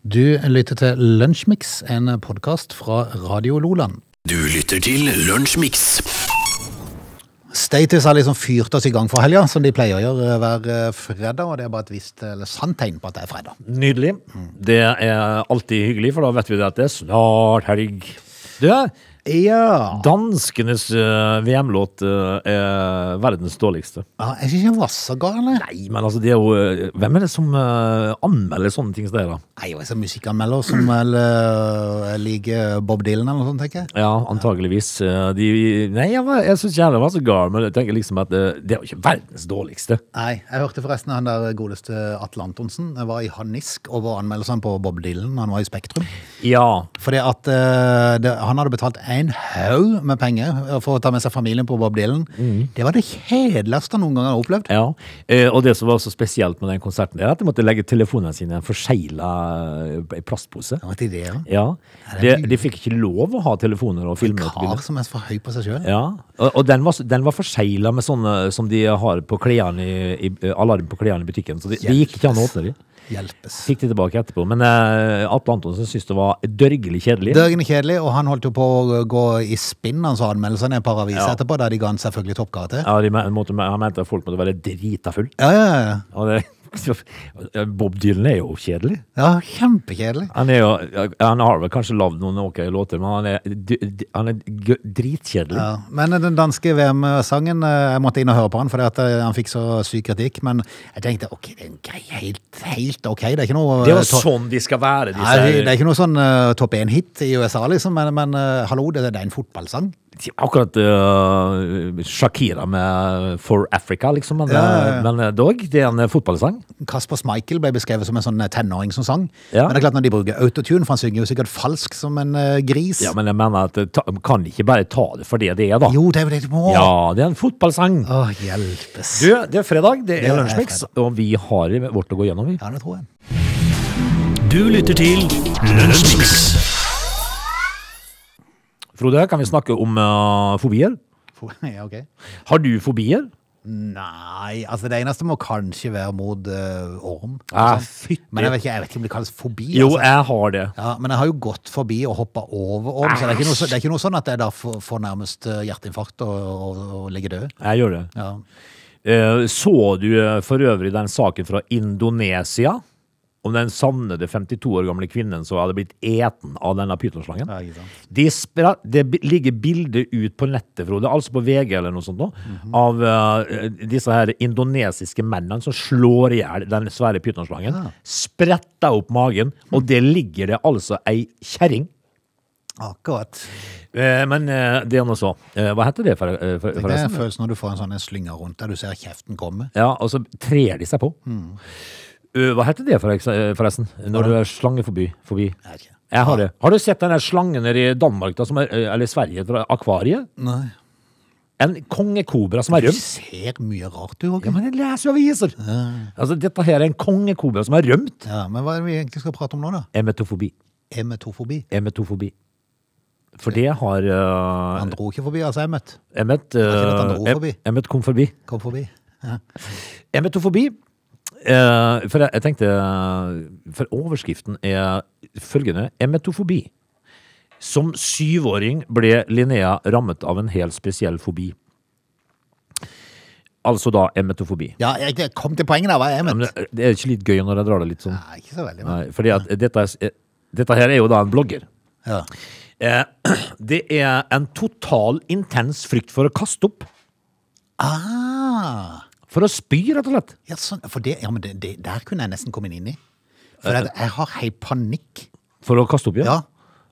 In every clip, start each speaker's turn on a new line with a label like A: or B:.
A: Du lytter til Lunsjmix, en podkast fra Radio Loland.
B: Du lytter til Lunsjmix.
A: Status har liksom fyrt oss i gang for helga, som de pleier å gjøre hver eh, fredag. Og det er bare et visst eller sant tegn på at det er fredag.
C: Nydelig. Det er alltid hyggelig, for da vet vi det at det er snart helg. Du,
A: Ja.
C: danskenes eh, VM-låt eh, er verdens dårligste.
A: ja er ikke den så gal, eller?
C: Nei, men altså, det er jo eh, Hvem er det som eh, anmelder sånne ting som det er, da?
A: Nei, det er en musikkanmelder som vel eh, liker Bob Dylan eller noe sånt, tenker jeg.
C: Ja, antageligvis. eh, De, nei, jeg, var- jeg syns ikke heller det var så gal, men jeg tenker liksom at eh, det er jo ikke verdens dårligste.
A: Nei, jeg hørte forresten han der godeste Atle Antonsen jeg var i Hanisk over anmeldelsene på Bob Dylan. Han var i Spektrum.
C: Ja.
A: Fordi at eh, det, han hadde betalt en haug med penger eh, for å ta med seg familien på Bob Dylan. Det var det kjedeligste han noen gang har opplevd.
C: Ja, eh, og det som var så spesielt med den konserten, er at de måtte legge telefonene sine i en forsegla eh, plastpose.
A: Det var til det, ja.
C: Ja, de, de fikk ikke lov å ha telefoner og filme. og
A: Kar
C: bilder.
A: som er for høy på seg sjøl.
C: Ja, og, og den var, s- den var forsegla med sånne som de har på klærne i, i, alarm på klærne i butikken, så det de gikk ikke an å åpne de.
A: Hjelpes.
C: Fikk de tilbake etterpå, men eh, Atle Antonsen syntes det var dørgelig kjedelig.
A: Dørgen er kjedelig, og han holdt jo på å gå i spinn, han så anmeldelsene i et par aviser
C: Ja.
A: etterpå, der de ga han selvfølgelig toppkarakter.
C: Ja, de, me- måtte, han mente at folk måtte være drita full.
A: Ja, ja, ja.
C: Og det, Bob Dylan er jo kjedelig.
A: ja kjempekjedelig.
C: Han, er jo, han har vel kanskje lagd noen ok låter, men han er, d- d- han er g- dritkjedelig.
A: Ja. Men den danske VM-sangen, eh, jeg måtte inn og høre på han, fordi at eh, han fikk så syk kritikk, men jeg tenkte ok, det er en grei, helt, helt ok, det er ikke noe
C: Det er jo
A: eh, to-
C: sånn de skal være, disse
A: Nei, det er ikke noe sånn eh, topp 1-hit i USA, liksom, men, men eh, hallo, det, det er en fotballsang.
C: Akkurat eh, Shakira med For Africa, liksom. Men,
A: Ja, ja, ja.
C: men eh, dog, det er en eh, fotballsang.
A: Kasper Schmeichel ble beskrevet som en sånn eh, tenåring som sang.
C: Ja.
A: Men det er klart når de bruker autotune, for han synger jo sikkert falsk som en eh, gris.
C: Ja, Men jeg mener at eh, ta, kan ikke bare ta det for det det er, da.
A: Jo, det er jo det de må.
C: Ja, det er en fotballsang.
A: Å, hjelpes.
C: Du, det er fredag, det
A: er
C: er Lunsjmix, og vi har vårt å gå gjennom, vi.
A: Ja, det tror jeg.
B: Du lytter til Lunsjmix.
C: Frode, kan vi snakke om eh, fobier?
A: For- Ja, ok.
C: Har du fobier?
A: Nei, altså det eneste må kanskje være mot eh, orm.
C: Ja,
A: og sånn.
C: Ah, fytti-
A: Men jeg vet ikke, jeg vet ikke om det kalles fobi.
C: Jo,
A: altså.
C: jeg har det.
A: Ja, men jeg har jo gått forbi og hoppa over orm, så det er, ikke noe, så- det er ikke noe sånn at jeg da får, får nærmest eh, hjerteinfarkt og, og, og ligger død.
C: Jeg gjør det.
A: Ja.
C: Eh, Så du eh, for øvrig den saken fra Indonesia? Om den savnede 52 år gamle kvinnen som hadde blitt eten av denne pytonslangen?
A: Ja, ikke sant.
C: De spra- det bi- ligger bilder ut på nettet, Frode, altså på VG eller noe sånt, nå,
A: Mhm.
C: av eh, disse her indonesiske mennene som slår i hjel den svære pytonslangen.
A: Ja.
C: Spretter opp magen,
A: Mm.
C: og det ligger det altså ei kjerring.
A: Akkurat.
C: Eh, Men eh, det er nå så. Eh, Hva heter det, for- eh, for-
A: Det er
C: forresten?
A: følelsen når du får en sånn en slynger rundt deg, du ser kjeften komme.
C: Ja, og så trer de seg på.
A: Mm.
C: Uh, Hva heter det for ekse- eh, forresten? Når du er slange forbi? forbi.
A: Jeg vet ikke.
C: Jeg har det. Har du sett den der slangen nede i Danmark, da, som er, eh, eller Sverige, fra akvariet?
A: Nei.
C: En kongekobra som er
A: Du
C: rømt.
A: ser mye rart, du
C: Ja,
A: Håkon.
C: men jeg leser jo aviser!
A: Ah.
C: Altså, dette her er en kongekobra som er rømt.
A: Ja, men hva er det vi egentlig skal prate om nå, da?
C: Emetofobi.
A: Emetofobi.
C: Emetofobi. For det har eh,
A: Han dro ikke forbi, altså, Emmet.
C: Emmet
A: ikke at han
C: eh,
A: dro
C: Em-
A: forbi.
C: Emmet kom forbi.
A: Kom forbi. Ja.
C: Emetofobi. Eh, for jeg, jeg tenkte eh, For overskriften er følgende. Emetofobi. Som syvåring ble Linnea rammet av en helt spesiell fobi. Altså da emetofobi.
A: Ja, jeg, jeg kom til poenget der, hva er
C: Ja, Men eh,
A: Emmet?
C: det, det er ikke litt gøy når jeg drar det litt sånn?
A: Nei, ikke så veldig, men.
C: Nei, fordi at dette, er- eh, dette her er jo da en blogger.
A: Ja.
C: Eh, det er en total intens frykt for å kaste opp.
A: Ah,
C: For å spy, rett og slett.
A: ja, sånn. For det, ja, men det, det, der kunne jeg nesten kommet inn i. For at jeg har hei panikk.
C: For å kaste opp, ja?
A: Ja.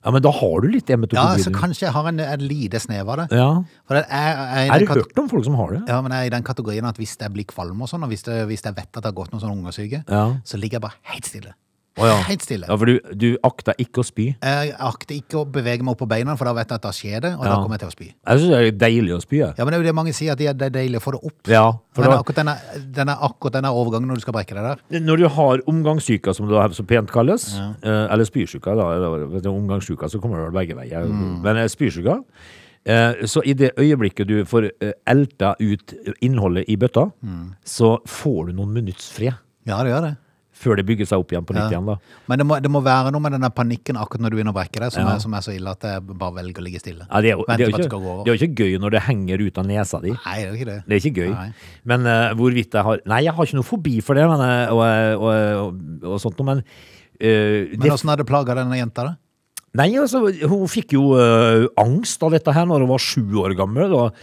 C: ja men da har du litt
A: Ja,
C: emetofobi.
A: så kanskje jeg har en, en lite snev av det.
C: Ja.
A: For at jeg, jeg,
C: Er det hørt om folk som har det?
A: Ja, men jeg er i den kategorien at hvis jeg blir kvalm og sånn, og hvis, det, hvis jeg vet at det har gått noen sånne ungersyke,
C: Ja.
A: så ligger jeg bare helt stille.
C: Å ja.
A: Helt stille.
C: Ja, for du, du akter ikke å spy.
A: Jeg akter ikke å bevege meg opp på beina, for da vet jeg at da skjer det, og da
C: Ja.
A: kommer jeg til å spy.
C: Jeg syns det er deilig å spy. jeg.
A: Ja, men det er jo det mange sier, at det er- det er deilig å få det opp.
C: Ja, for
A: Men
C: da,
A: akkurat denne, denne, akkurat denne overgangen når du skal brekke deg der.
C: når du har omgangssyka, som det da så pent kalles, eh, eller spysyka, da, eller vet du, omgangssyka, så kommer det vel begge veier.
A: Mm.
C: Men eh, spysyka eh, Så i det øyeblikket du får eh,
A: Mm.
C: elta ut innholdet i bøtta, så får du noen minutts fred.
A: Ja, det gjør det.
C: før det bygger seg opp igjen på nytt
A: Ja.
C: igjen. da.
A: Men det må, det må være noe med den der panikken akkurat når du begynner å brekke deg, som,
C: Ja.
A: er, som er så ille at jeg bare velger å ligge stille.
C: Ja, det, er jo, det,
A: Venter
C: er
A: på at det
C: jo
A: skal gå
C: ikke,
A: over.
C: det er jo ikke gøy når det henger ut av nesa di.
A: Nei, det er jo ikke det.
C: Det er ikke gøy.
A: Nei.
C: Men eh, hvorvidt jeg har Nei, jeg har ikke noe fobi for det, men, eh, og, og, og, og sånt noe, men eh, det,
A: Men åssen hadde det plaga denne jenta, da?
C: Nei, altså, hun fikk jo eh, angst av dette her når hun var sju år gammel. Og,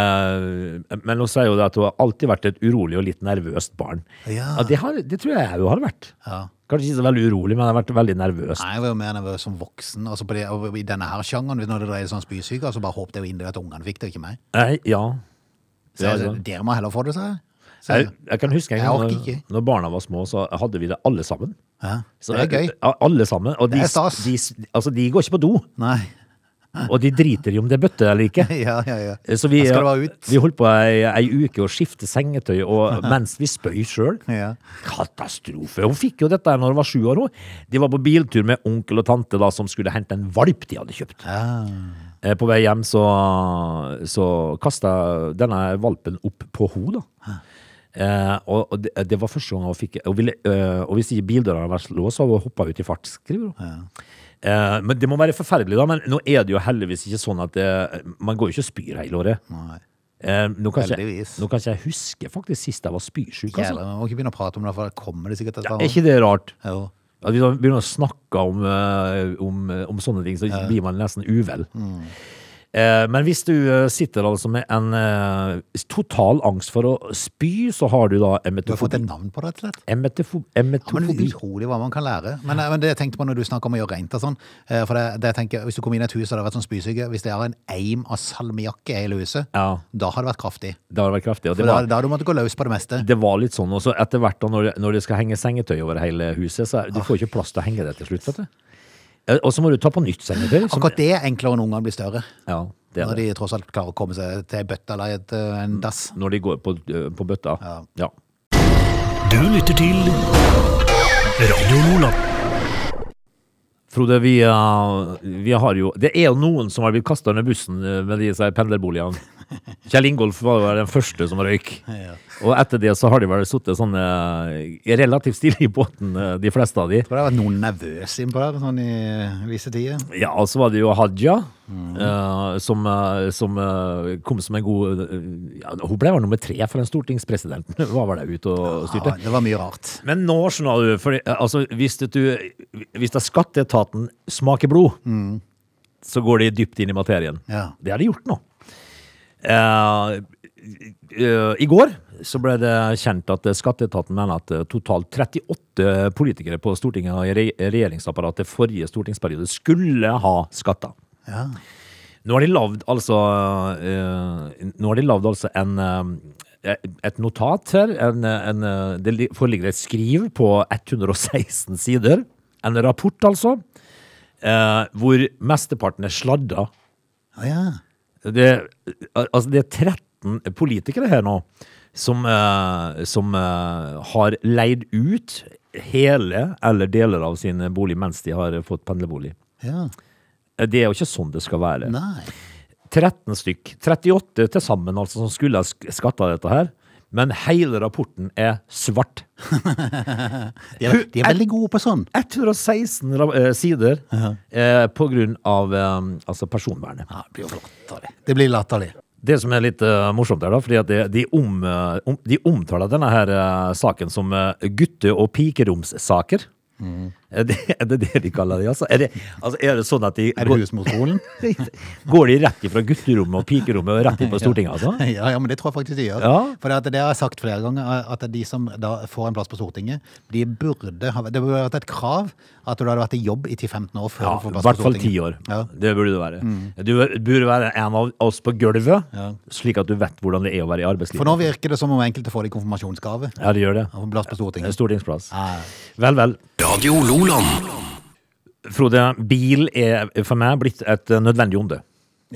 C: eh, men hun sier jo det at hun har alltid vært et urolig og litt nervøst barn.
A: Ja.
C: det, har, det tror jeg hun har vært.
A: Ja.
C: Kanskje ikke så veldig urolig, men jeg har vært veldig nervøs.
A: Nei, jeg var jo mer nervøs som voksen. Altså på det, og I denne her sjangeren, når det dreier seg om spysyke, altså bare håpte jeg jo inderlig at ungene fikk det, ikke meg.
C: Nei, ja.
A: Så
C: Ja,
A: jeg,
C: ja.
A: Dere må heller få det, sa jeg. Så,
C: Jeg, jeg kan huske en
A: Jeg
C: gang
A: orker
C: når,
A: ikke.
C: når barna var små, så hadde vi det alle sammen.
A: ja.
C: Så
A: det er gøy.
C: Ja, Alle sammen. Og de,
A: Det er stas.
C: De, altså, de går ikke på do,
A: Nei.
C: og de driter i om det er bøtte eller ikke.
A: Ja, ja, ja.
C: Så vi,
A: Da skal det være ut.
C: vi holdt på ei, ei uke å skifte sengetøy og, mens vi spøy sjøl.
A: Ja.
C: Katastrofe. Hun fikk jo dette her når hun var sju år. hun. De var på biltur med onkel og tante da, som skulle hente en valp de hadde kjøpt.
A: Ah,
C: Eh, På vei hjem så, så kasta denne valpen opp på ho da. Eh, og og det, det var første gang hun fikk hun ville, eh, Og hvis ikke bildøra hadde vært låst, så hadde hun hoppa ut i fart, skriver hun. Eh, men det må være forferdelig, da. Men nå er det jo heldigvis ikke sånn at det, man går jo ikke og spyr hele året.
A: Nei.
C: Eh, nå, kan ikke,
A: Heldigvis.
C: nå kan ikke jeg huske faktisk sist jeg var spysjuk. Altså.
A: Jævlig, vi må ikke begynne å prate om det, for da kommer det sikkert et
C: Ja,
A: par år.
C: er ikke det rart?
A: Jo.
C: At vi da begynner å snakke om, eh, om, eh, om sånne ting, så blir man nesten uvel.
A: Mm.
C: Eh, men hvis du eh, sitter altså med en eh, total angst for å spy, så har du da
A: Du har fått
C: emetofobi.
A: et navn på det, rett og slett.
C: Emetofo-
A: Ja, men
C: Emetofobi.
A: Utrolig hva man kan lære. Men, eh, men det jeg tenkte på når du snakker om å gjøre rent og sånn eh, For det, det jeg tenker, Hvis du kommer inn i et hus og det har vært sånn spysyke, hvis det er en eim av salmiakk i hele huset,
C: Ja.
A: da har det vært kraftig.
C: Det har vært kraftig. Og
A: For
C: det
A: da,
C: var,
A: da har du måttet gå løs på det meste.
C: det var litt sånn også. Etter hvert da, når, det- når det skal henge sengetøy over hele huset, så
A: Ah.
C: er, du får ikke plass til å henge det til slutt. Vet du. Eh, Og så må du ta på nytt sengetøy. som-
A: Akkurat det er enklere når ungene blir større.
C: ja, det er det.
A: Når de tross alt klarer å komme seg til ei bøtte eller et, eh, en dass.
C: når de går på, eh, på bøtta.
A: Ja.
C: ja.
B: Du lytter til Radio Lola.
C: Frode, vi, eh, vi har jo Det er jo noen som har blitt kasta under bussen eh, med disse pendlerboligene. Kjell Ingolf var jo den første som røyk.
A: Ja.
C: Og etter det så har de vel sittet sånn eh, relativt stille i båten, eh, de fleste av de.
A: For det har vært noen nervøse innpå der sånn i visse tider.
C: Ja, og så var det jo Hadia, eh, som, eh, som eh, kom som en god eh, ja, Hun ble vel nummer tre for en stortingspresident. Hun var vel der ute og
A: Ja,
C: styrte.
A: det var mye rart.
C: Men nå skjønner du, for altså, hvis, det du hvis det er skatteetaten smaker blod, så går de dypt inn i materien.
A: Ja.
C: Det har de gjort nå. Eh, eh, I går så ble det kjent at skatteetaten mener at eh, totalt 38 politikere på Stortinget og i re regjeringsapparatet forrige stortingsperiode skulle ha skatta.
A: Ja.
C: Nå har de lagd altså, eh, nå har de lavd altså en, eh, et notat her. En, en, eh, det li- foreligger et skriv på 116 sider. En rapport, altså. eh, hvor mesteparten er sladda.
A: Å, ja.
C: Det, altså, det er 13 politikere her nå som, eh, som eh, har leid ut hele eller deler av sin bolig mens de har fått pendlerbolig.
A: ja.
C: Det er jo ikke sånn det skal være.
A: Nei.
C: 13 stykk. 38 til sammen, altså, som skulle ha sk- skatta dette her. Men hele rapporten er svart.
A: De er, de er veldig gode på sånn.
C: 116 ra- eh, sider eh, på grunn av eh, altså personvernet.
A: Ja, det blir jo latterlig. Det blir latterlig.
C: Det som er litt eh, morsomt her, da, fordi at det, de, om, eh, om, de omtaler denne her eh, saken som eh, gutte- og pikeromssaker.
A: Mm.
C: Er, det, er det det de kaller det, altså? Er det, altså, er det sånn at de
A: Er det
C: går,
A: hus mot solen?
C: går de rett ifra gutterommet og pikerommet og rett inn på Stortinget, altså?
A: Ja, ja, men det tror jeg faktisk de gjør.
C: Ja.
A: For det, at det har jeg sagt flere ganger, at de som da får en plass på Stortinget, de burde ha, det burde vært et krav at du hadde vært i jobb i 10-15 år før
C: Ja,
A: du får plass
C: i
A: på
C: hvert fall
A: Stortinget.
C: ti år.
A: Ja. Mm.
C: Det burde det være. Du burde være en av oss på gulvet, slik at du vet hvordan det er å være i
A: For
C: arbeidslivet.
A: nå virker det som om enkelte får det i konfirmasjonsgave.
C: Ja, det gjør det.
A: Av en plass på Stortinget. Eh,
C: Stortingsplass.
A: Ja.
C: Vel, vel.
B: Radio Loland.
C: Frode, bil er for meg blitt et eh, nødvendig onde.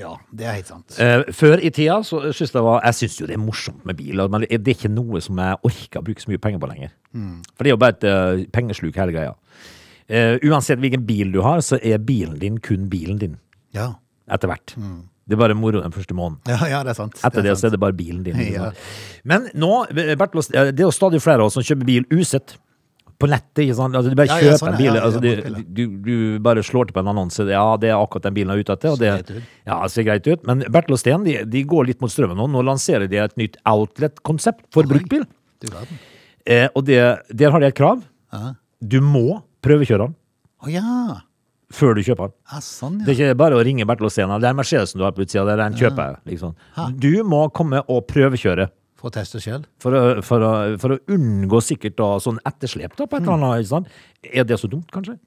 A: ja, det er helt sant.
C: Eh, før i tida så syns jeg det var Jeg syns jo det er morsomt med bil, men det er ikke noe som jeg orker å bruke så mye penger på lenger.
A: Mm.
C: For det er jo bare et eh, pengesluk, hele greia. Eh, uansett hvilken bil du har, så er bilen din kun bilen din.
A: Ja,
C: Etter hvert.
A: Mm.
C: Det er bare moro den første måneden.
A: ja, ja det er sant.
C: Etter det,
A: er
C: så
A: sant.
C: er det bare bilen din.
A: Ja.
C: Men nå, Bertil, det er jo stadig flere av oss som kjøper bil usett. på nettet, ikke sant? Altså, du bare
A: Ja,
C: kjøper
A: ja, sånn,
C: en bil.
A: ja,
C: altså,
A: ja, motbiler.
C: du, du, du bare slår til på en annonse. Ja, det er akkurat den bilen jeg er ute etter. Og
A: Ser greit
C: det,
A: ut.
C: ja, det ser greit ut. Men Bertel og Steen de, de går litt mot strømmen nå. Nå lanserer de et nytt outlet-konsept for bruktbil.
A: Du verden.
C: Eh, og det, der har de et krav.
A: Ja.
C: Du må prøvekjøre den
A: Å ja.
C: før du kjøper den.
A: ja. Sånn,
C: Det
A: ja.
C: er ikke bare å ringe Bertel og Steen. Det er Mercedesen du har på utsida. Det er den kjøper jeg. Liksom. Du må komme og prøvekjøre.
A: For å teste sjøl.
C: For å, for, å, for å unngå sikkert da, sånn etterslep da, på et eller annet. Ikke sant? Er det så dumt, kanskje?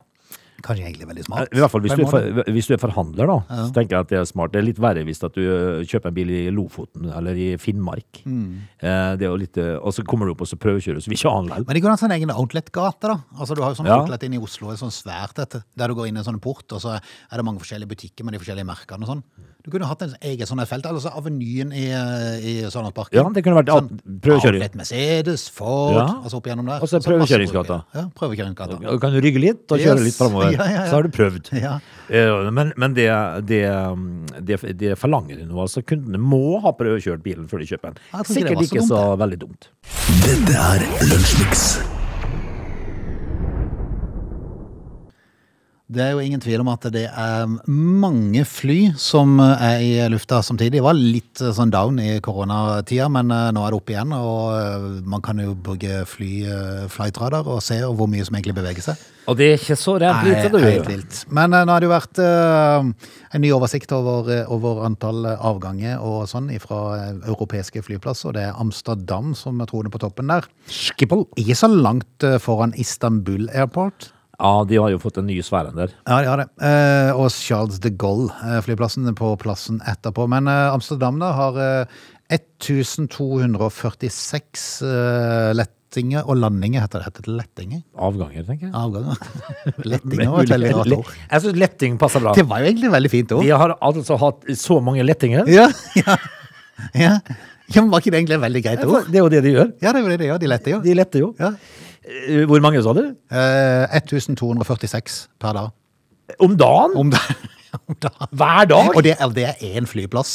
A: Kanskje egentlig veldig
C: Ja,
A: smart.
C: I hvert fall hvis
A: på
C: du,
A: en
C: er
A: måte.
C: for, hvis du er forhandler, da. Så tenker jeg at det er smart. Det er litt verre hvis at du ø, kjøper en bil i Lofoten eller i Finnmark.
A: Mm.
C: Eh, det er jo litt, ø, og så kommer du opp og så prøvekjører, så vil ikke han likevel.
A: Men det går an å ha en egen outlet-gate, da. Altså, du har jo sånn
C: Ja.
A: outlet inne i Oslo, et sånn svært et, der du går inn i en sånn port, og så er det mange forskjellige butikker med de forskjellige merkene og sånn. Du kunne hatt en egen sånn et felt, altså Avenyen i, eh, i Sørlandsparken. Sånn
C: Ja, det kunne vært out- prøvekjøring.
A: Outlet Mercedes, Ford,
C: Ja.
A: altså opp igjennom der.
C: Og så
A: masse
C: prøvekjøringsgata.
A: brukere. Ja, prøvekjøringsgata.
C: Da Kan du rygge litt og kjøre
A: Yes.
C: litt framover?
A: Ja, ja, ja.
C: Så har du prøvd.
A: Ja.
C: Eh, Men, men det, det, um, det, det forlanger du nå. Altså, kundene må ha prøvekjørt bilen før de kjøper den.
A: Jeg tror ikke det var
C: Sikkert
A: så
C: ikke
A: dumt,
C: så veldig dumt.
B: Dette er Lunsjmix.
A: Det er jo ingen tvil om at det er mange fly som er i lufta samtidig. Det var litt sånn down i koronatida, men eh, nå er det opp igjen. Og eh, man kan jo bruke fly, eh, flightradar og se hvor mye som egentlig beveger seg.
C: Og det er ikke så rent
A: Nei,
C: lite,
A: helt
C: du.
A: vilt. Men eh, nå har det jo vært eh, en ny oversikt over, eh, over antall eh, avganger og sånn fra europeiske flyplasser. Det er Amsterdam som troner på toppen der.
C: Skippel.
A: Ikke så langt eh, foran Istanbul Airport.
C: Ja, de har jo fått en ny sfære der.
A: Ja, de har det. Eh, og Charles de Gaulle-flyplassen på plassen etterpå. Men eh, Amsterdam da har eh, 1246 eh, lettinger og landinger, heter det. Heter det lettinger?
C: Avganger, tenker jeg.
A: Avganger? lettinger var et veldig rart ord.
C: Jeg syns letting passer bra.
A: Det var jo egentlig et veldig fint ord.
C: Vi har altså hatt så mange lettinger.
A: Ja, ja. ja. ja men var ikke det egentlig et veldig greit ord?
C: Det er jo det de gjør.
A: Ja, det er jo det de gjør. De letter jo.
C: De letter jo.
A: Ja.
C: Eh, Hvor mange sa du?
A: Eh, 1246 per dag.
C: Om dagen?
A: Om dagen. Om dagen.
C: Hver dag?
A: Og det er, det er én flyplass.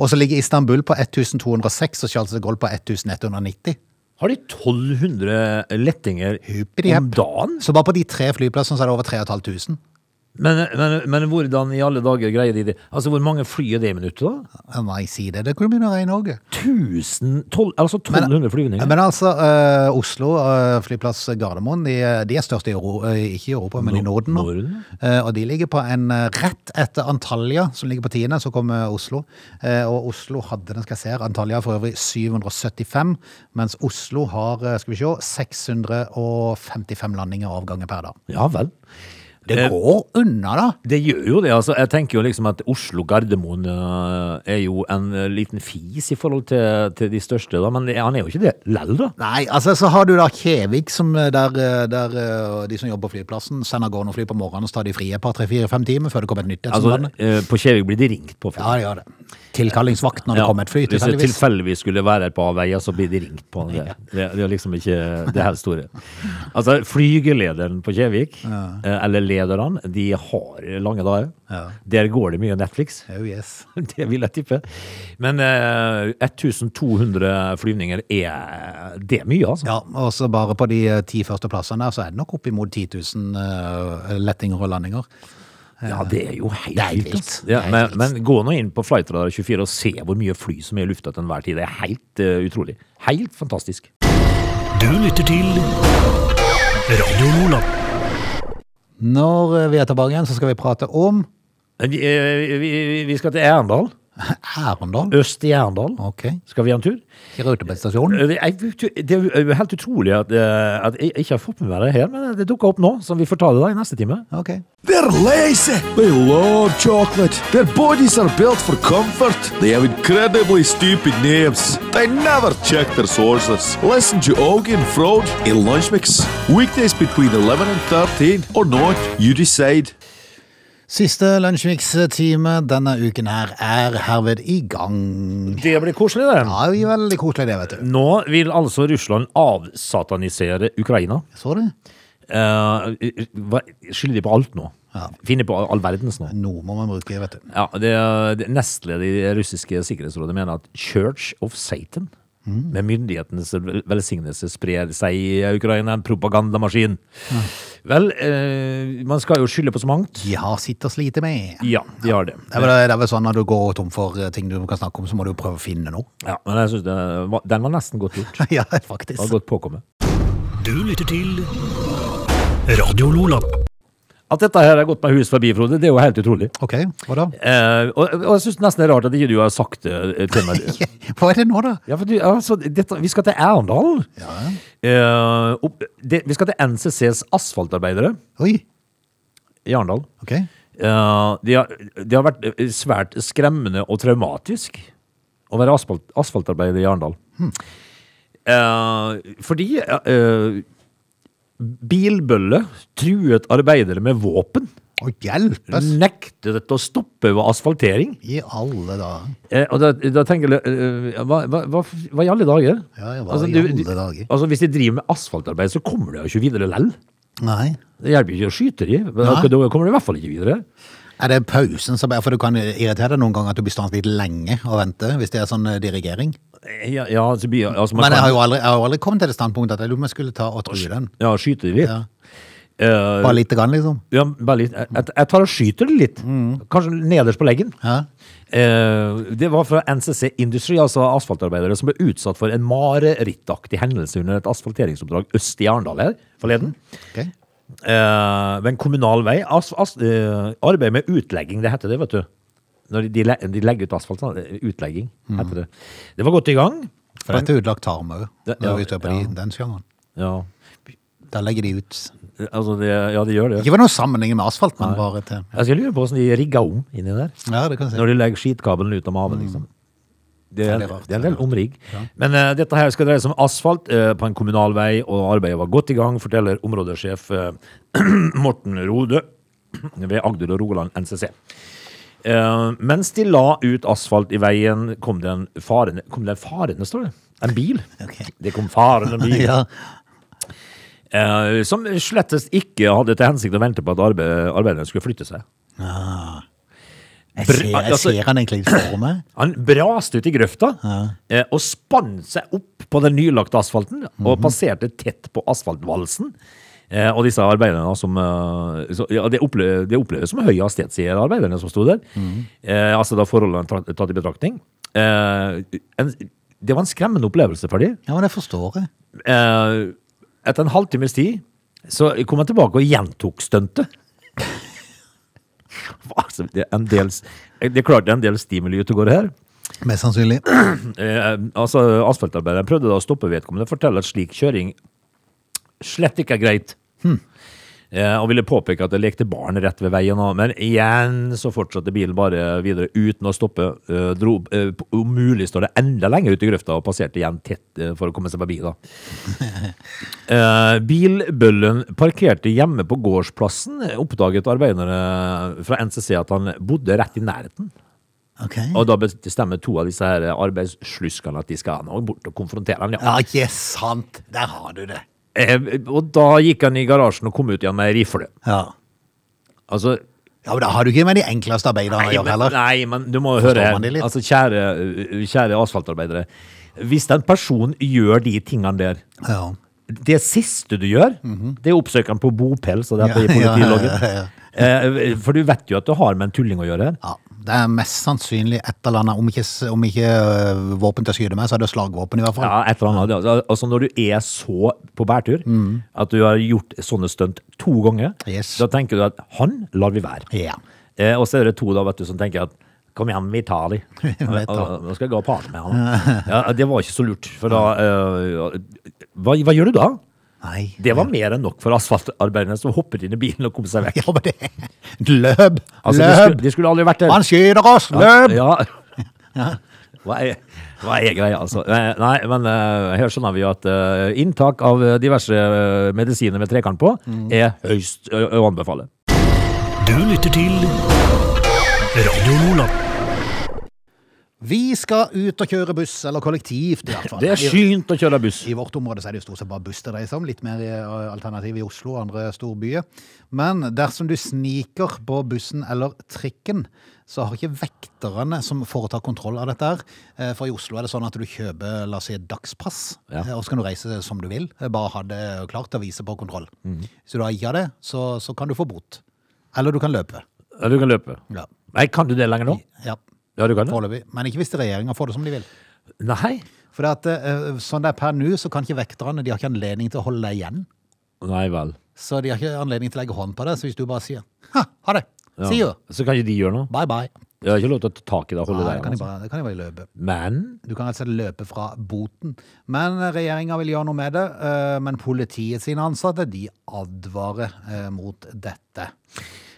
A: Og så ligger Istanbul på 1206 og Charles de Gaulle på 1190.
C: Har de 1200 lettinger
A: Hippity-happ.
C: om dagen?
A: Så bare på de tre flyplassene så er det over 3500.
C: Men, men, men hvordan i alle dager greier de det? Altså, Hvor mange fly er det i minuttet, da?
A: Ja, Nei, si det. Det kunne begynne å regne òg.
C: 1000, 12, altså 1200 flyvninger?
A: Men altså, eh, Oslo eh, flyplass Gardermoen, de, de er størst i Euro, eh, ikke i Europa, men i
C: Nor-
A: Norden nå.
C: Norden?
A: Eh, og de ligger på en eh, rett etter Antalya, som ligger på tiende, så kommer Oslo. Eh, og Oslo hadde, den skal jeg se her, Antalya for øvrig 775, mens Oslo har, eh, skal vi se, 655 landinger og avganger per dag.
C: Ja vel.
A: Det
C: Eh,
A: går unna da!
C: Det gjør jo det. altså. Jeg tenker jo liksom at Oslo-Gardermoen eh, er jo en eh, liten fis i forhold til, til de største, da. Men han er jo ikke det lell, da.
A: Nei, altså så har du da Kjevik, som eh, der, eh, der eh, de som jobber på flyplassen, sender gården og fly på morgenen og så tar de fri et par, tre, fire, fem timer før det kommer et nytt. et som
C: Altså,
A: lander.
C: eh, På Kjevik blir de ringt på.
A: Ja, det gjør det. Tilkallingsvakt når det kommer et fly,
C: Hvis det
A: tilfeldigvis.
C: tilfeldigvis skulle være på avveie, så blir de ringt på. Det, det, det er liksom ikke det helt store. Altså, Flygelederen på Kjevik, eh, eller lederne, de har lange dager.
A: Ja.
C: Der går det mye Netflix.
A: Oh, yes.
C: Det vil jeg tippe. Men eh, 1200 flyvninger er Det er mye, altså.
A: Ja, og så bare på de eh, ti første plassene der, så er det nok oppimot 10 000 eh, lettinger og landinger.
C: Ja, det er jo helt
A: Det er
C: vilt.
A: vilt.
C: altså. Ja,
A: Det er
C: men,
A: vilt.
C: men gå nå inn på Flightradar 24 og se hvor mye fly som er i lufta til enhver tid. Det er helt eh, utrolig. Helt fantastisk.
B: Du lytter til Radio Lola.
A: Når eh, vi er tilbake igjen, så skal vi prate om
C: Men Vi, eh, vi, vi skal til Erendal.
A: Arendal.
C: Øst i Erendal.
A: Ok,
C: Skal vi ha en tur?
A: i Rautebergstasjonen.
C: Eh, jeg vet jo- Det er jo helt utrolig at, eh, at jeg ikke har fått med meg det her, men det dukker opp nå, så vi får ta det da i neste time.
A: Ok.
D: They're er lazy. They love chocolate. Their bodies are built for comfort. They have incredibly stupid names. They never check their sources. Listen to Augie and Frode in Lunch Mix. Weekdays between 11 and 13 or not, you decide.
A: Siste lunsjmix-time denne uken her er herved i gang.
C: Det blir koselig, det.
A: Ja, det er veldig koselig det, vet du.
C: Nå vil altså Russland avsatanisere Ukraina.
A: Så du?
C: Eh, hva- skylder de på alt nå?
A: Ja.
C: Finner på all all verdens nå?
A: Noe må man bruke, vet du.
C: Ja, det, det, Nestleder i det russiske sikkerhetsrådet mener at Church of Satan Med myndighetenes vel- velsignelse sprer seg i Ukraina en propagandamaskin. Vel, eh, man skal jo skylde på så mangt.
A: De har sitt å slite med.
C: Ja, de har det.
A: Det er, vel, det er vel sånn at du går tom for eh, ting du kan snakke om, så må du prøve å finne noe.
C: Ja, men jeg synes det var, den var nesten godt gjort.
A: ja,
C: Det var
A: faktisk.
C: godt påkommet.
B: Du lytter til Radio Lola.
C: At dette her har gått meg hus forbi, Frode, det er jo helt utrolig.
A: Ok, hva da?
C: Eh, og, og jeg syns nesten det er rart at ikke du har sagt det til meg.
A: Hva er det nå, da?
C: Ja, for du, altså, dette, vi skal til Arendal. Eh, opp, det, vi skal til NCCs asfaltarbeidere
A: Oi,
C: i Arendal.
A: ok.
C: Eh, det har, det har vært eh, svært skremmende og traumatisk å være asfalt, asfaltarbeider i Arendal. Eh, fordi eh, bilbølle truet arbeidere med våpen.
A: Å, hjelpes!
C: Nektet å stoppe ved asfaltering.
A: I alle dager.
C: Eh, og da, da tenker jeg eh, hva, hva, hva, hva i alle dager?
A: Ja, ja, hva i alle dager?
C: Altså, hvis de driver med asfaltarbeid, så kommer de jo ikke videre lell.
A: Nei.
C: Det hjelper jo ikke å skyte de. men
A: Nei.
C: Da kommer de i hvert fall ikke videre.
A: Er det pausen som er For du kan irritere deg noen ganger at du blir stående litt lenge og vente, hvis det er sånn eh, dirigering.
C: Eh, Ja, ja, så blir, altså, man
A: Men jeg
C: kan
A: har jo aldri, jeg har jo aldri kommet til det standpunktet at jeg lurer på om jeg skulle ta og true den.
C: ja, skyte de litt.
A: Ja.
C: Eh,
A: Bare lite grann, liksom.
C: ja, bare litt. Jeg, jeg- jeg tar og skyter det litt. Kanskje nederst på leggen.
A: Mm. Ja.
C: Eh, det var fra NCC Industry, altså asfaltarbeidere, som ble utsatt for en marerittaktig hendelse under et asfalteringsoppdrag øst i Arendal her forleden.
A: Ok.
C: Eh, men kommunal vei as, as, eh, Arbeid med utlegging, det heter det, vet du. Når de, de, le- de legger ut asfalt. sånn, eh, Utlegging, heter det. Det var godt i gang.
A: For dette er ødelagt tarm òg,
C: Det-
A: når
C: ja,
A: vi ser på
C: ja.
A: de, den sjangeren.
C: Ja,
A: Der legger de ut.
C: altså det, ja det gjør det.
A: Ikke for noen sammenheng med asfalt, men bare til
C: Jeg skal lure på hvordan de rigger om inni der.
A: Ja, det kan jeg si.
C: Når de legger skitkabelen ut av maven, liksom. Det er,
A: Ja, det er rart,
C: det er en
A: det er
C: del
A: rart.
C: omrigg. Men eh, dette her skal dreie seg om asfalt eh, på en kommunal vei, og arbeidet var godt i gang, forteller områdesjef eh, Morten Rode ved Agder og Rogaland NCC. Eh, mens de la ut asfalt i veien, kom det en farende Kom det en farende, står det? En bil?
A: Ok.
C: Det kom farende bil.
A: Ja,
C: eh, som slettes ikke hadde til hensikt å vente på at arbeid, arbeiderne skulle flytte seg.
A: jeg
C: Br-
A: ser, jeg
C: altså-
A: ser han egentlig litt for meg.
C: Han braste ut i grøfta eh, og spann seg opp på den nylagte asfalten og passerte tett på asfaltvalsen. Eh, og disse arbeiderne som eh, så, ja, Det oppleves, det oppleves som høy hastighet, sier arbeiderne som sto der. Eh, altså da forholdene tatt, tatt i betraktning. Eh, en, det var en skremmende opplevelse for dem.
A: Ja, men det forstår jeg.
C: Eh, etter en halvtimes tid så kom han tilbake og gjentok stuntet. altså, det, er en del, s- det er klart det er en del stimuli ute og går her.
A: Mest sannsynlig.
C: Eh, altså, asfaltarbeideren prøvde da å stoppe vedkommende og fortelle at slik kjøring slett ikke er greit. Eh, og ville påpeke at det lekte barn rett ved veien. og- Men igjen så fortsatte bilen bare videre uten å stoppe. Eh, dro, eh, p- om mulig står det enda lenger ut i grøfta og passerte igjen tett eh, for å komme seg forbi. da. Eh, bilbøllen parkerte hjemme på gårdsplassen. Oppdaget arbeiderne fra NCC at han bodde rett i nærheten.
A: Ok.
C: Og da bestemmer to av disse her arbeidssluskene at de skal nå bort og konfrontere han. Ja.
A: Ja, ikke sant. Der har du det.
C: Eh, Og da gikk han i garasjen og kom ut igjen med ei rifle.
A: Ja.
C: Altså,
A: ja, men da har du ikke med de enkleste arbeiderne å
C: nei,
A: gjøre
C: men,
A: heller.
C: nei, men du må jo
A: Forstår
C: høre her.
A: man det litt?
C: Altså, kjære, kjære asfaltarbeidere. Hvis en person gjør de tingene der
A: Ja.
C: Det siste du gjør, det er oppsøkeren på bopel, så det er på
A: Mhm. Ja, ja, ja,
C: politiloggen.
A: ja,
C: Eh, For du vet jo at du har med en tulling å gjøre her.
A: ja. Det er mest sannsynlig et eller annet, om ikke, s- om ikke øh, våpen til å skyte med, så er det slagvåpen i hvert fall.
C: Ja, et eller annet. Altså, Altså, når du er så på bærtur at du har gjort sånne stunt to ganger,
A: Mm. Yes.
C: da tenker du at han lar vi være.
A: Ja.
C: Eh, og så er det to da, vet du, som tenker at Kom igjen, vi tar de.
A: tar de.
C: Og- og- Nå skal jeg gå og pare med han. Ja, det var ikke så lurt, for da eh, hva, hva gjør du da?
A: Nei.
C: Det var mer enn nok for asfaltarbeiderne som hoppet inn i bilen og kom seg vekk.
A: Ja, men det Løp!
C: Altså, de, skulle,
A: løp!
C: de skulle aldri vært der.
A: Han skyter oss! Løp!
C: Ja. Hva er, hva er greia, altså? Eh, Nei, men eh, her skjønner vi jo at eh, inntak av eh, diverse eh, medisiner med trekant på er høyst ø- å anbefale.
B: Du lytter til Radio Lola.
A: Vi skal ut og kjøre buss, eller kollektivt i hvert fall.
C: Det er skynt å kjøre buss.
A: I vårt område så er det jo stort sett bare buss det dreier seg om. Litt mer eh, alternativ i Oslo og andre storbyer. Men dersom du sniker på bussen eller trikken, så har ikke vekterne som foretar kontroll av dette her. Eh, For i Oslo er det sånn at du kjøper la oss si, dagspass,
C: Ja.
A: eh, og så kan du reise som du vil. Eh, Bare ha det klart til å vise på kontroll. Så du har ikke av det, så, så kan du få bot. Eller du kan løpe.
C: Ja, Du kan løpe.
A: Ja.
C: Nei, kan du det lenger nå?
A: ja.
C: Ja, du kan det.
A: Foreløpig. Men ikke hvis regjeringa får det som de vil.
C: Nei.
A: For at, eh, sånn det er per nå, så kan ikke vekterne de har ikke anledning til å holde deg igjen.
C: Nei vel.
A: Så de har ikke anledning til å legge hånd på det. Så hvis du bare sier ha, ha det,
C: Ja.
A: see you,
C: Så kan ikke de gjøre noe?
A: bye bye.
C: Jeg har ikke lov til å ta tak i det og holde
A: Nei,
C: deg.
A: det kan de
C: altså.
A: bare, det kan de bare løpe.
C: Men
A: Du kan altså løpe fra boten. Men regjeringa vil gjøre noe med det. eh, Men politiet sine ansatte de advarer eh, mot dette.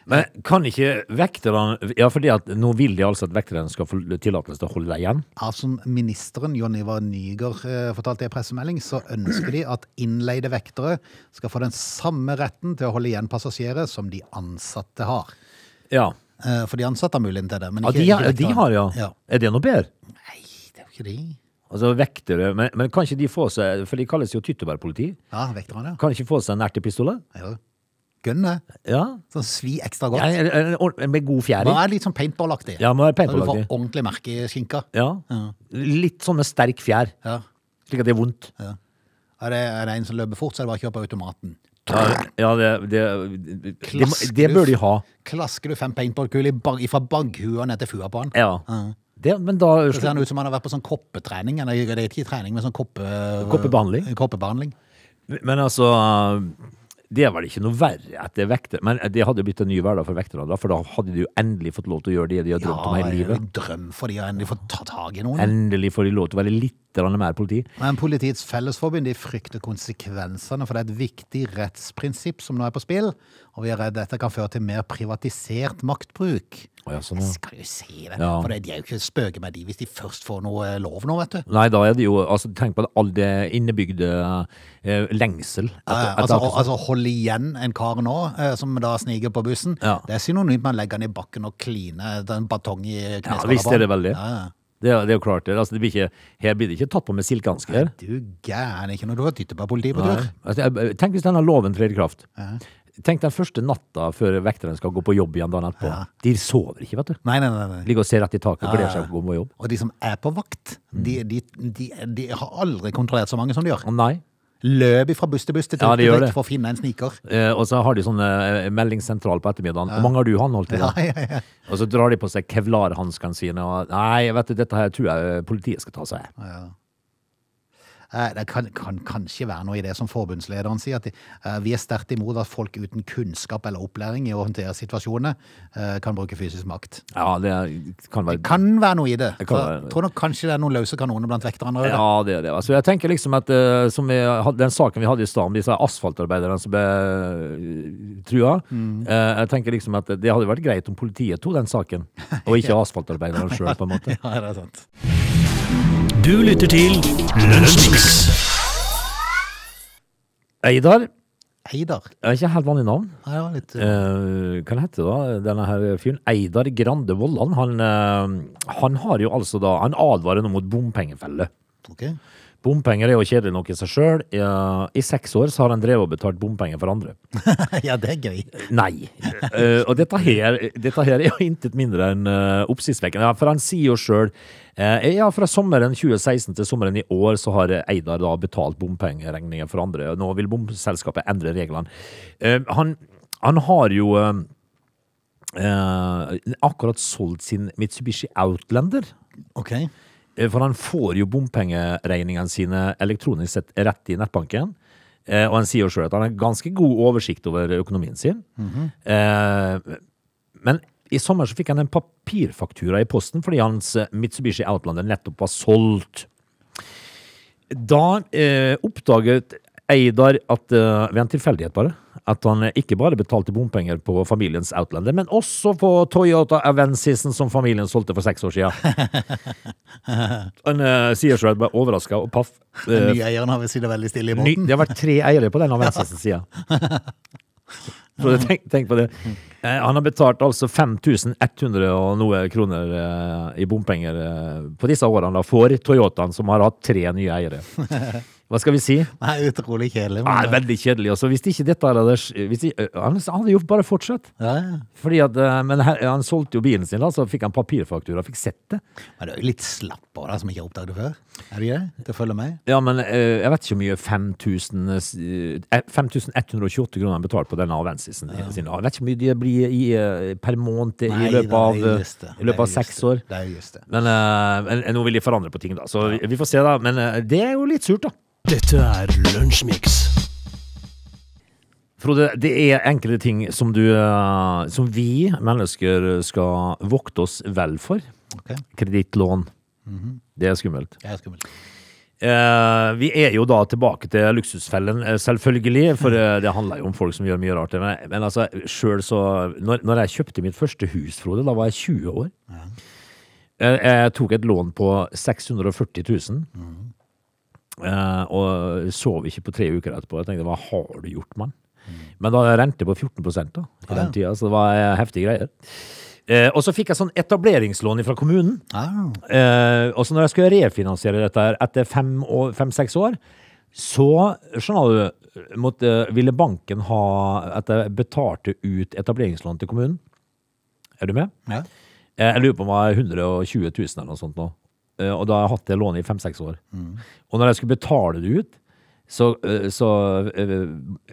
C: Men kan ikke vekterne Ja, fordi at nå vil de altså at vekterne skal få tillatelse til å holde deg igjen.
A: Ja, Altså, som ministeren Jon Ivar Nygaard eh, fortalte i en pressemelding, så ønsker de at innleide vektere skal få den samme retten til å holde igjen passasjerer som de ansatte har.
C: Ja.
A: Eh, For de ansatte har muligheten til det. Men
C: ja
A: ikke,
C: de, har,
A: ikke
C: de
A: vekterne.
C: har, ja. Er det noe bedre?
A: Nei, det er jo ikke de.
C: Altså vektere men, men kan ikke de få seg For de kalles jo tyttebærpoliti.
A: Ja, vekterne, ja.
C: Kan ikke få seg en ertepistolet?
A: ja. Gønn det.
C: Ja.
A: Sånn svi ekstra
C: ja
A: godt.
C: en- en ord- en med god fjær i.
A: Bare er litt sånn paintball-aktig.
C: Ja, må være
A: Så du får
C: paintball-aktig.
A: ordentlig merke i skinka.
C: Ja. Litt sånn med sterk fjær,
A: Ja.
C: slik at det er vondt.
A: Er, det, er det en som løper fort, så er det bare å kjøre på automaten.
C: Ja, ja det, det, det, det, det bør de ha.
A: Klasker du fem paintballkuler fra bagghua ned til fua på han.
C: Ja. Det, men da
A: Så ser han ut som han har vært på sånn koppetrening. Eller det er ikke trening, men sånn koppe,
C: Koppebehandling?
A: koppebehandling.
C: Men altså Det er vel ikke noe verre at det er vekter Men det hadde blitt en ny hverdag for vekterne, da, for da hadde de jo endelig fått lov til å gjøre det de har drømt om hele
A: det er jo
C: livet.
A: en drøm for de å endelig få ta tak i noen.
C: Endelig får de lov til å være litt grann mer politi.
A: Men Politiets Fellesforbund de frykter konsekvensene, for det er et viktig rettsprinsipp som nå er på spill. Og vi er redd dette kan føre til mer privatisert maktbruk.
C: Å, ja, sånn,
A: Jeg
C: ja.
A: skal jo si det.
C: Ja.
A: For det- de er jo ikke spøke med de hvis de først får noe eh, lov nå, vet du.
C: Nei, da er det jo altså, Tenk på all det innebygde eh, lengsel.
A: Eh,
C: Etter, etter
A: altså,
C: akkurat-
A: altså hold igjen en kar nå, eh, som da sniker på bussen.
C: Ja.
A: Det er synonymt med å legge han i bakken og kline eh, den batong i
C: ja,
A: kneskåla.
C: visst
A: på
C: er det
A: han.
C: vel det.
A: Ja, ja.
C: Det, er- det er jo klart. Det. Altså, det blir ikke, her blir det ikke tatt på med silkehansker.
A: Du gæren ikke når du har tyttet på politiet på tur.
C: Altså, jeg- tenk hvis denne loven trer i kraft. Tenk den første natta før vekteren skal gå på jobb igjen dagen etterpå. De sover ikke, vet du.
A: Nei, nei, nei. nei.
C: Ligger og ser rett i taket og gleder
A: ja,
C: seg til å gå på jobb.
A: Og de som er på vakt,
C: Mm.
A: de, de, de, de har aldri kontrollert så mange som de gjør.
C: Å, Nei.
A: Løp fra buss til buss til
C: Ja, de
A: til-
C: gjør
A: til-
C: det.
A: for å finne en sniker.
C: Eh, og så har de sånn eh, meldingssentral på ettermiddagen. Hvor mange har du anholdt i dag? Og så drar de på seg kevlarhanskene sine og Nei, vet du, dette her tror jeg eh, politiet skal ta seg av.
A: Eh, Det kan, kan kanskje være noe i det som forbundslederen sier, at de, eh, vi er sterkt imot at folk uten kunnskap eller opplæring i å håndtere situasjoner eh, kan bruke fysisk makt.
C: Ja, det kan være
A: Kan være noe i det.
C: Det kan
A: For
C: være.
A: Jeg tror nok kanskje det er noen løse kanoner blant vekterne. også, da.
C: Ja, det er det. Altså, jeg tenker liksom at eh, som vi, hadde- Den saken vi hadde i stad om disse asfaltarbeiderne som ble eh, trua eh, Jeg tenker liksom at det hadde vært greit om politiet tok den saken, og ikke asfaltarbeiderne sjøl, på en måte.
A: Ja, det er sant.
B: Du lytter til Lunsjmix.
C: Eidar
A: Eidar.
C: er ikke helt vanlig navn.
A: Ja, det var litt...
C: Eh, hva heter det da, denne her fyren? Eidar Grande Vollan. Han, eh, han har jo altså da Han advarer nå mot bompengefelle.
A: ok.
C: Bompenger er jo kjedelig nok i seg sjøl. I seks år så har han drevet og betalt bompenger for andre.
A: ja, det er gøy.
C: Nei. Eh, og dette her, dette her er jo intet mindre enn uh, oppsiktsvekkende. Ja, for han sier jo sjøl ja, fra sommeren 2016 til sommeren i år så har eh, Eidar da betalt bompengeregninger for andre. og Nå vil bomselskapet endre reglene. Eh, han, han har jo eh, eh, akkurat solgt sin Mitsubishi Outlander.
A: Ok.
C: Eh, For han får jo bompengeregningene sine elektronisk sett rett i nettbanken. Eh, og han sier jo sjøl at han har ganske god oversikt over økonomien sin. eh, men i sommer så fikk han en papirfaktura i posten fordi hans eh, Mitsubishi Outlander nettopp var solgt. Da eh, oppdaget Eidar at, eh, ved en tilfeldighet bare, at han ikke bare betalte bompenger på familiens Outlander, men også på Toyota Avensisen som familien solgte for seks år siden. Han eh, sier selv at ble overraska og paff. Eh,
A: Nyeieren har vel sittet veldig stille i
C: ny,
A: båten.
C: det har vært tre eiere på den av venstresiden sida. Så tenk, tenk på det. Eh, han har betalt altså 5100 og noe kroner eh, i bompenger eh, på disse årene da, for Toyotaen, som har hatt tre nye eiere. Hva skal vi si?
A: Nei, utrolig kjedelig.
C: Ah,
A: Men, eh,
C: veldig kjedelig. Altså, hvis ikke dette hadde hvis ikke, Han hadde jo bare fortsatt.
A: ja, ja.
C: Fordi at, eh, men her, han solgte jo bilen sin, da, så fikk han papirfaktura. Fikk sett det.
A: Men det er jo litt slapp av det som jeg ikke har oppdaget det før. Er det ikke det? Det følger meg.
C: Ja, men eh, jeg vet ikke hvor mye 5000, eh, 5128 kroner han betalte på denne Avensisen sin. Jeg vet ikke hvor mye det blir i, eh, per måned i
A: Nei, det
C: løpet
A: er
C: av, eh,
A: just det.
C: i løpet av
A: Det er
C: seks
A: just det.
C: år.
A: Det er just det.
C: Men eh, men, eh, nå vil de forandre på ting, da. Så vi, vi får se, da. Men eh, det er jo litt surt, da.
B: Dette er Lunsjmix.
C: Frode, det er enkelte ting som, du, eh, som vi mennesker skal vokte oss vel for.
A: Ok,
C: Kredittlån.
A: Mhm.
C: Det er skummelt.
A: jeg er skummel.
C: Eh, vi er jo da tilbake til luksusfellen, eh, selvfølgelig. For eh, det handler jo om folk som gjør mye rart. Men, men altså, selv så når, når jeg kjøpte mitt første hus, Frode, da var jeg 20 år. Eh, jeg tok et lån på 640 000. eh, og sov ikke på tre uker etterpå. Jeg tenkte hva har du gjort, mann? Men da hadde jeg rente på 14 da, i den tida, så det var eh, heftige greier. Eh, og så fikk jeg sånn etableringslån fra kommunen.
A: Ah,
C: Eh, og så når jeg skulle refinansiere dette her etter fem-seks år, fem, seks år, så skjønner du, måtte, ville banken ha at jeg betalte ut etableringslån til kommunen. Er du med?
A: ja.
C: Eh, Jeg lurer på om det var 120 000 eller noe sånt nå. Eh, Og da har jeg hatt det lånet i fem-seks år. Og når jeg skulle betale det ut, så, eh, så eh,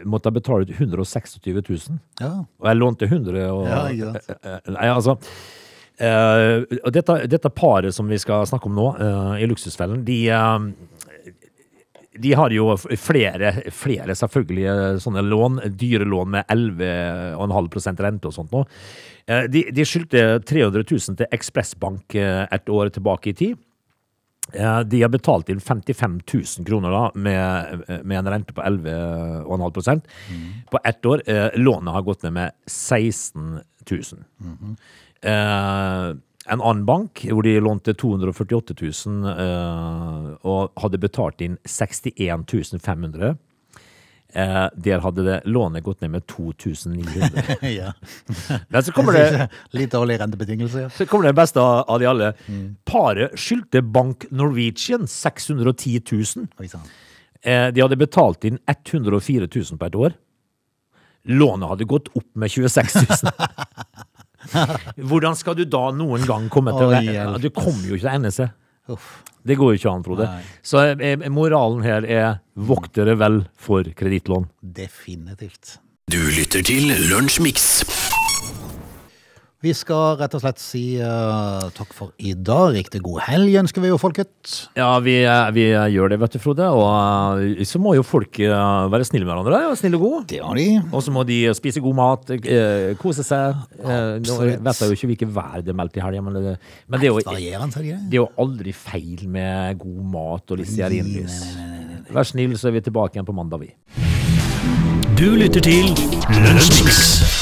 C: måtte jeg betale ut 126 000.
A: ja.
C: Og jeg lånte 100 og
A: Ja, ikke sant.
C: Eh, eh, Nei, altså eh, og dette, dette paret som vi skal snakke om nå, eh, i Luksusfellen, de eh, de har jo f- flere, flere selvfølgelig eh, sånne lån, dyre lån med 11,5 rente og sånt nå. Eh, De, de skyldte 300 000 til Ekspressbank eh, et år tilbake i tid. Eh, De har betalt inn 55 000 kroner da, med, eh, med en rente på 11,5 på ett år. Eh, Lånet har gått ned med 16 000. eh, en annen bank hvor de lånte 248 000 eh, og hadde betalt inn 61 500. Eh, der hadde det lånet gått ned med 2900.
A: ja.
C: Men så kommer det
A: Litt dårlig rentebetingelse, ja.
C: så kommer det beste av av de alle. Paret skyldte Bank Norwegian 610 000.
A: Oi sånn. sann.
C: Eh, De hadde betalt inn 104 000 på et år. Lånet hadde gått opp med 26 000. Hvordan skal du da noen gang komme til
A: Oi,
C: det?
A: hjelp.
C: Du kommer jo ikke til NSE.
A: Uff.
C: Det går jo ikke an, Frode.
A: Nei.
C: Så eh, moralen her er vokt dere vel for kredittlån.
A: Definitivt.
B: Du lytter til Lunsjmix.
A: Vi skal rett og slett si eh, takk for i dag. Riktig god helg ønsker vi jo, folket.
C: Ja, vi, eh, vi eh, gjør det, vet du, Frode. Og eh, så må jo folk eh, være snille med hverandre. og Snille og gode.
A: Det har de.
C: Og så må de spise god mat, eh, kose seg. Eh, nå
A: Absolutt.
C: vet jeg jo ikke hvilket vær det er meldt i helga, men, det- men det, er jo,
A: Varierende, er de det?
C: det er jo aldri feil med god mat og litt stearinlys. Vær snill, så er vi tilbake igjen på mandag, vi.
B: Du lytter til Lunsjmix.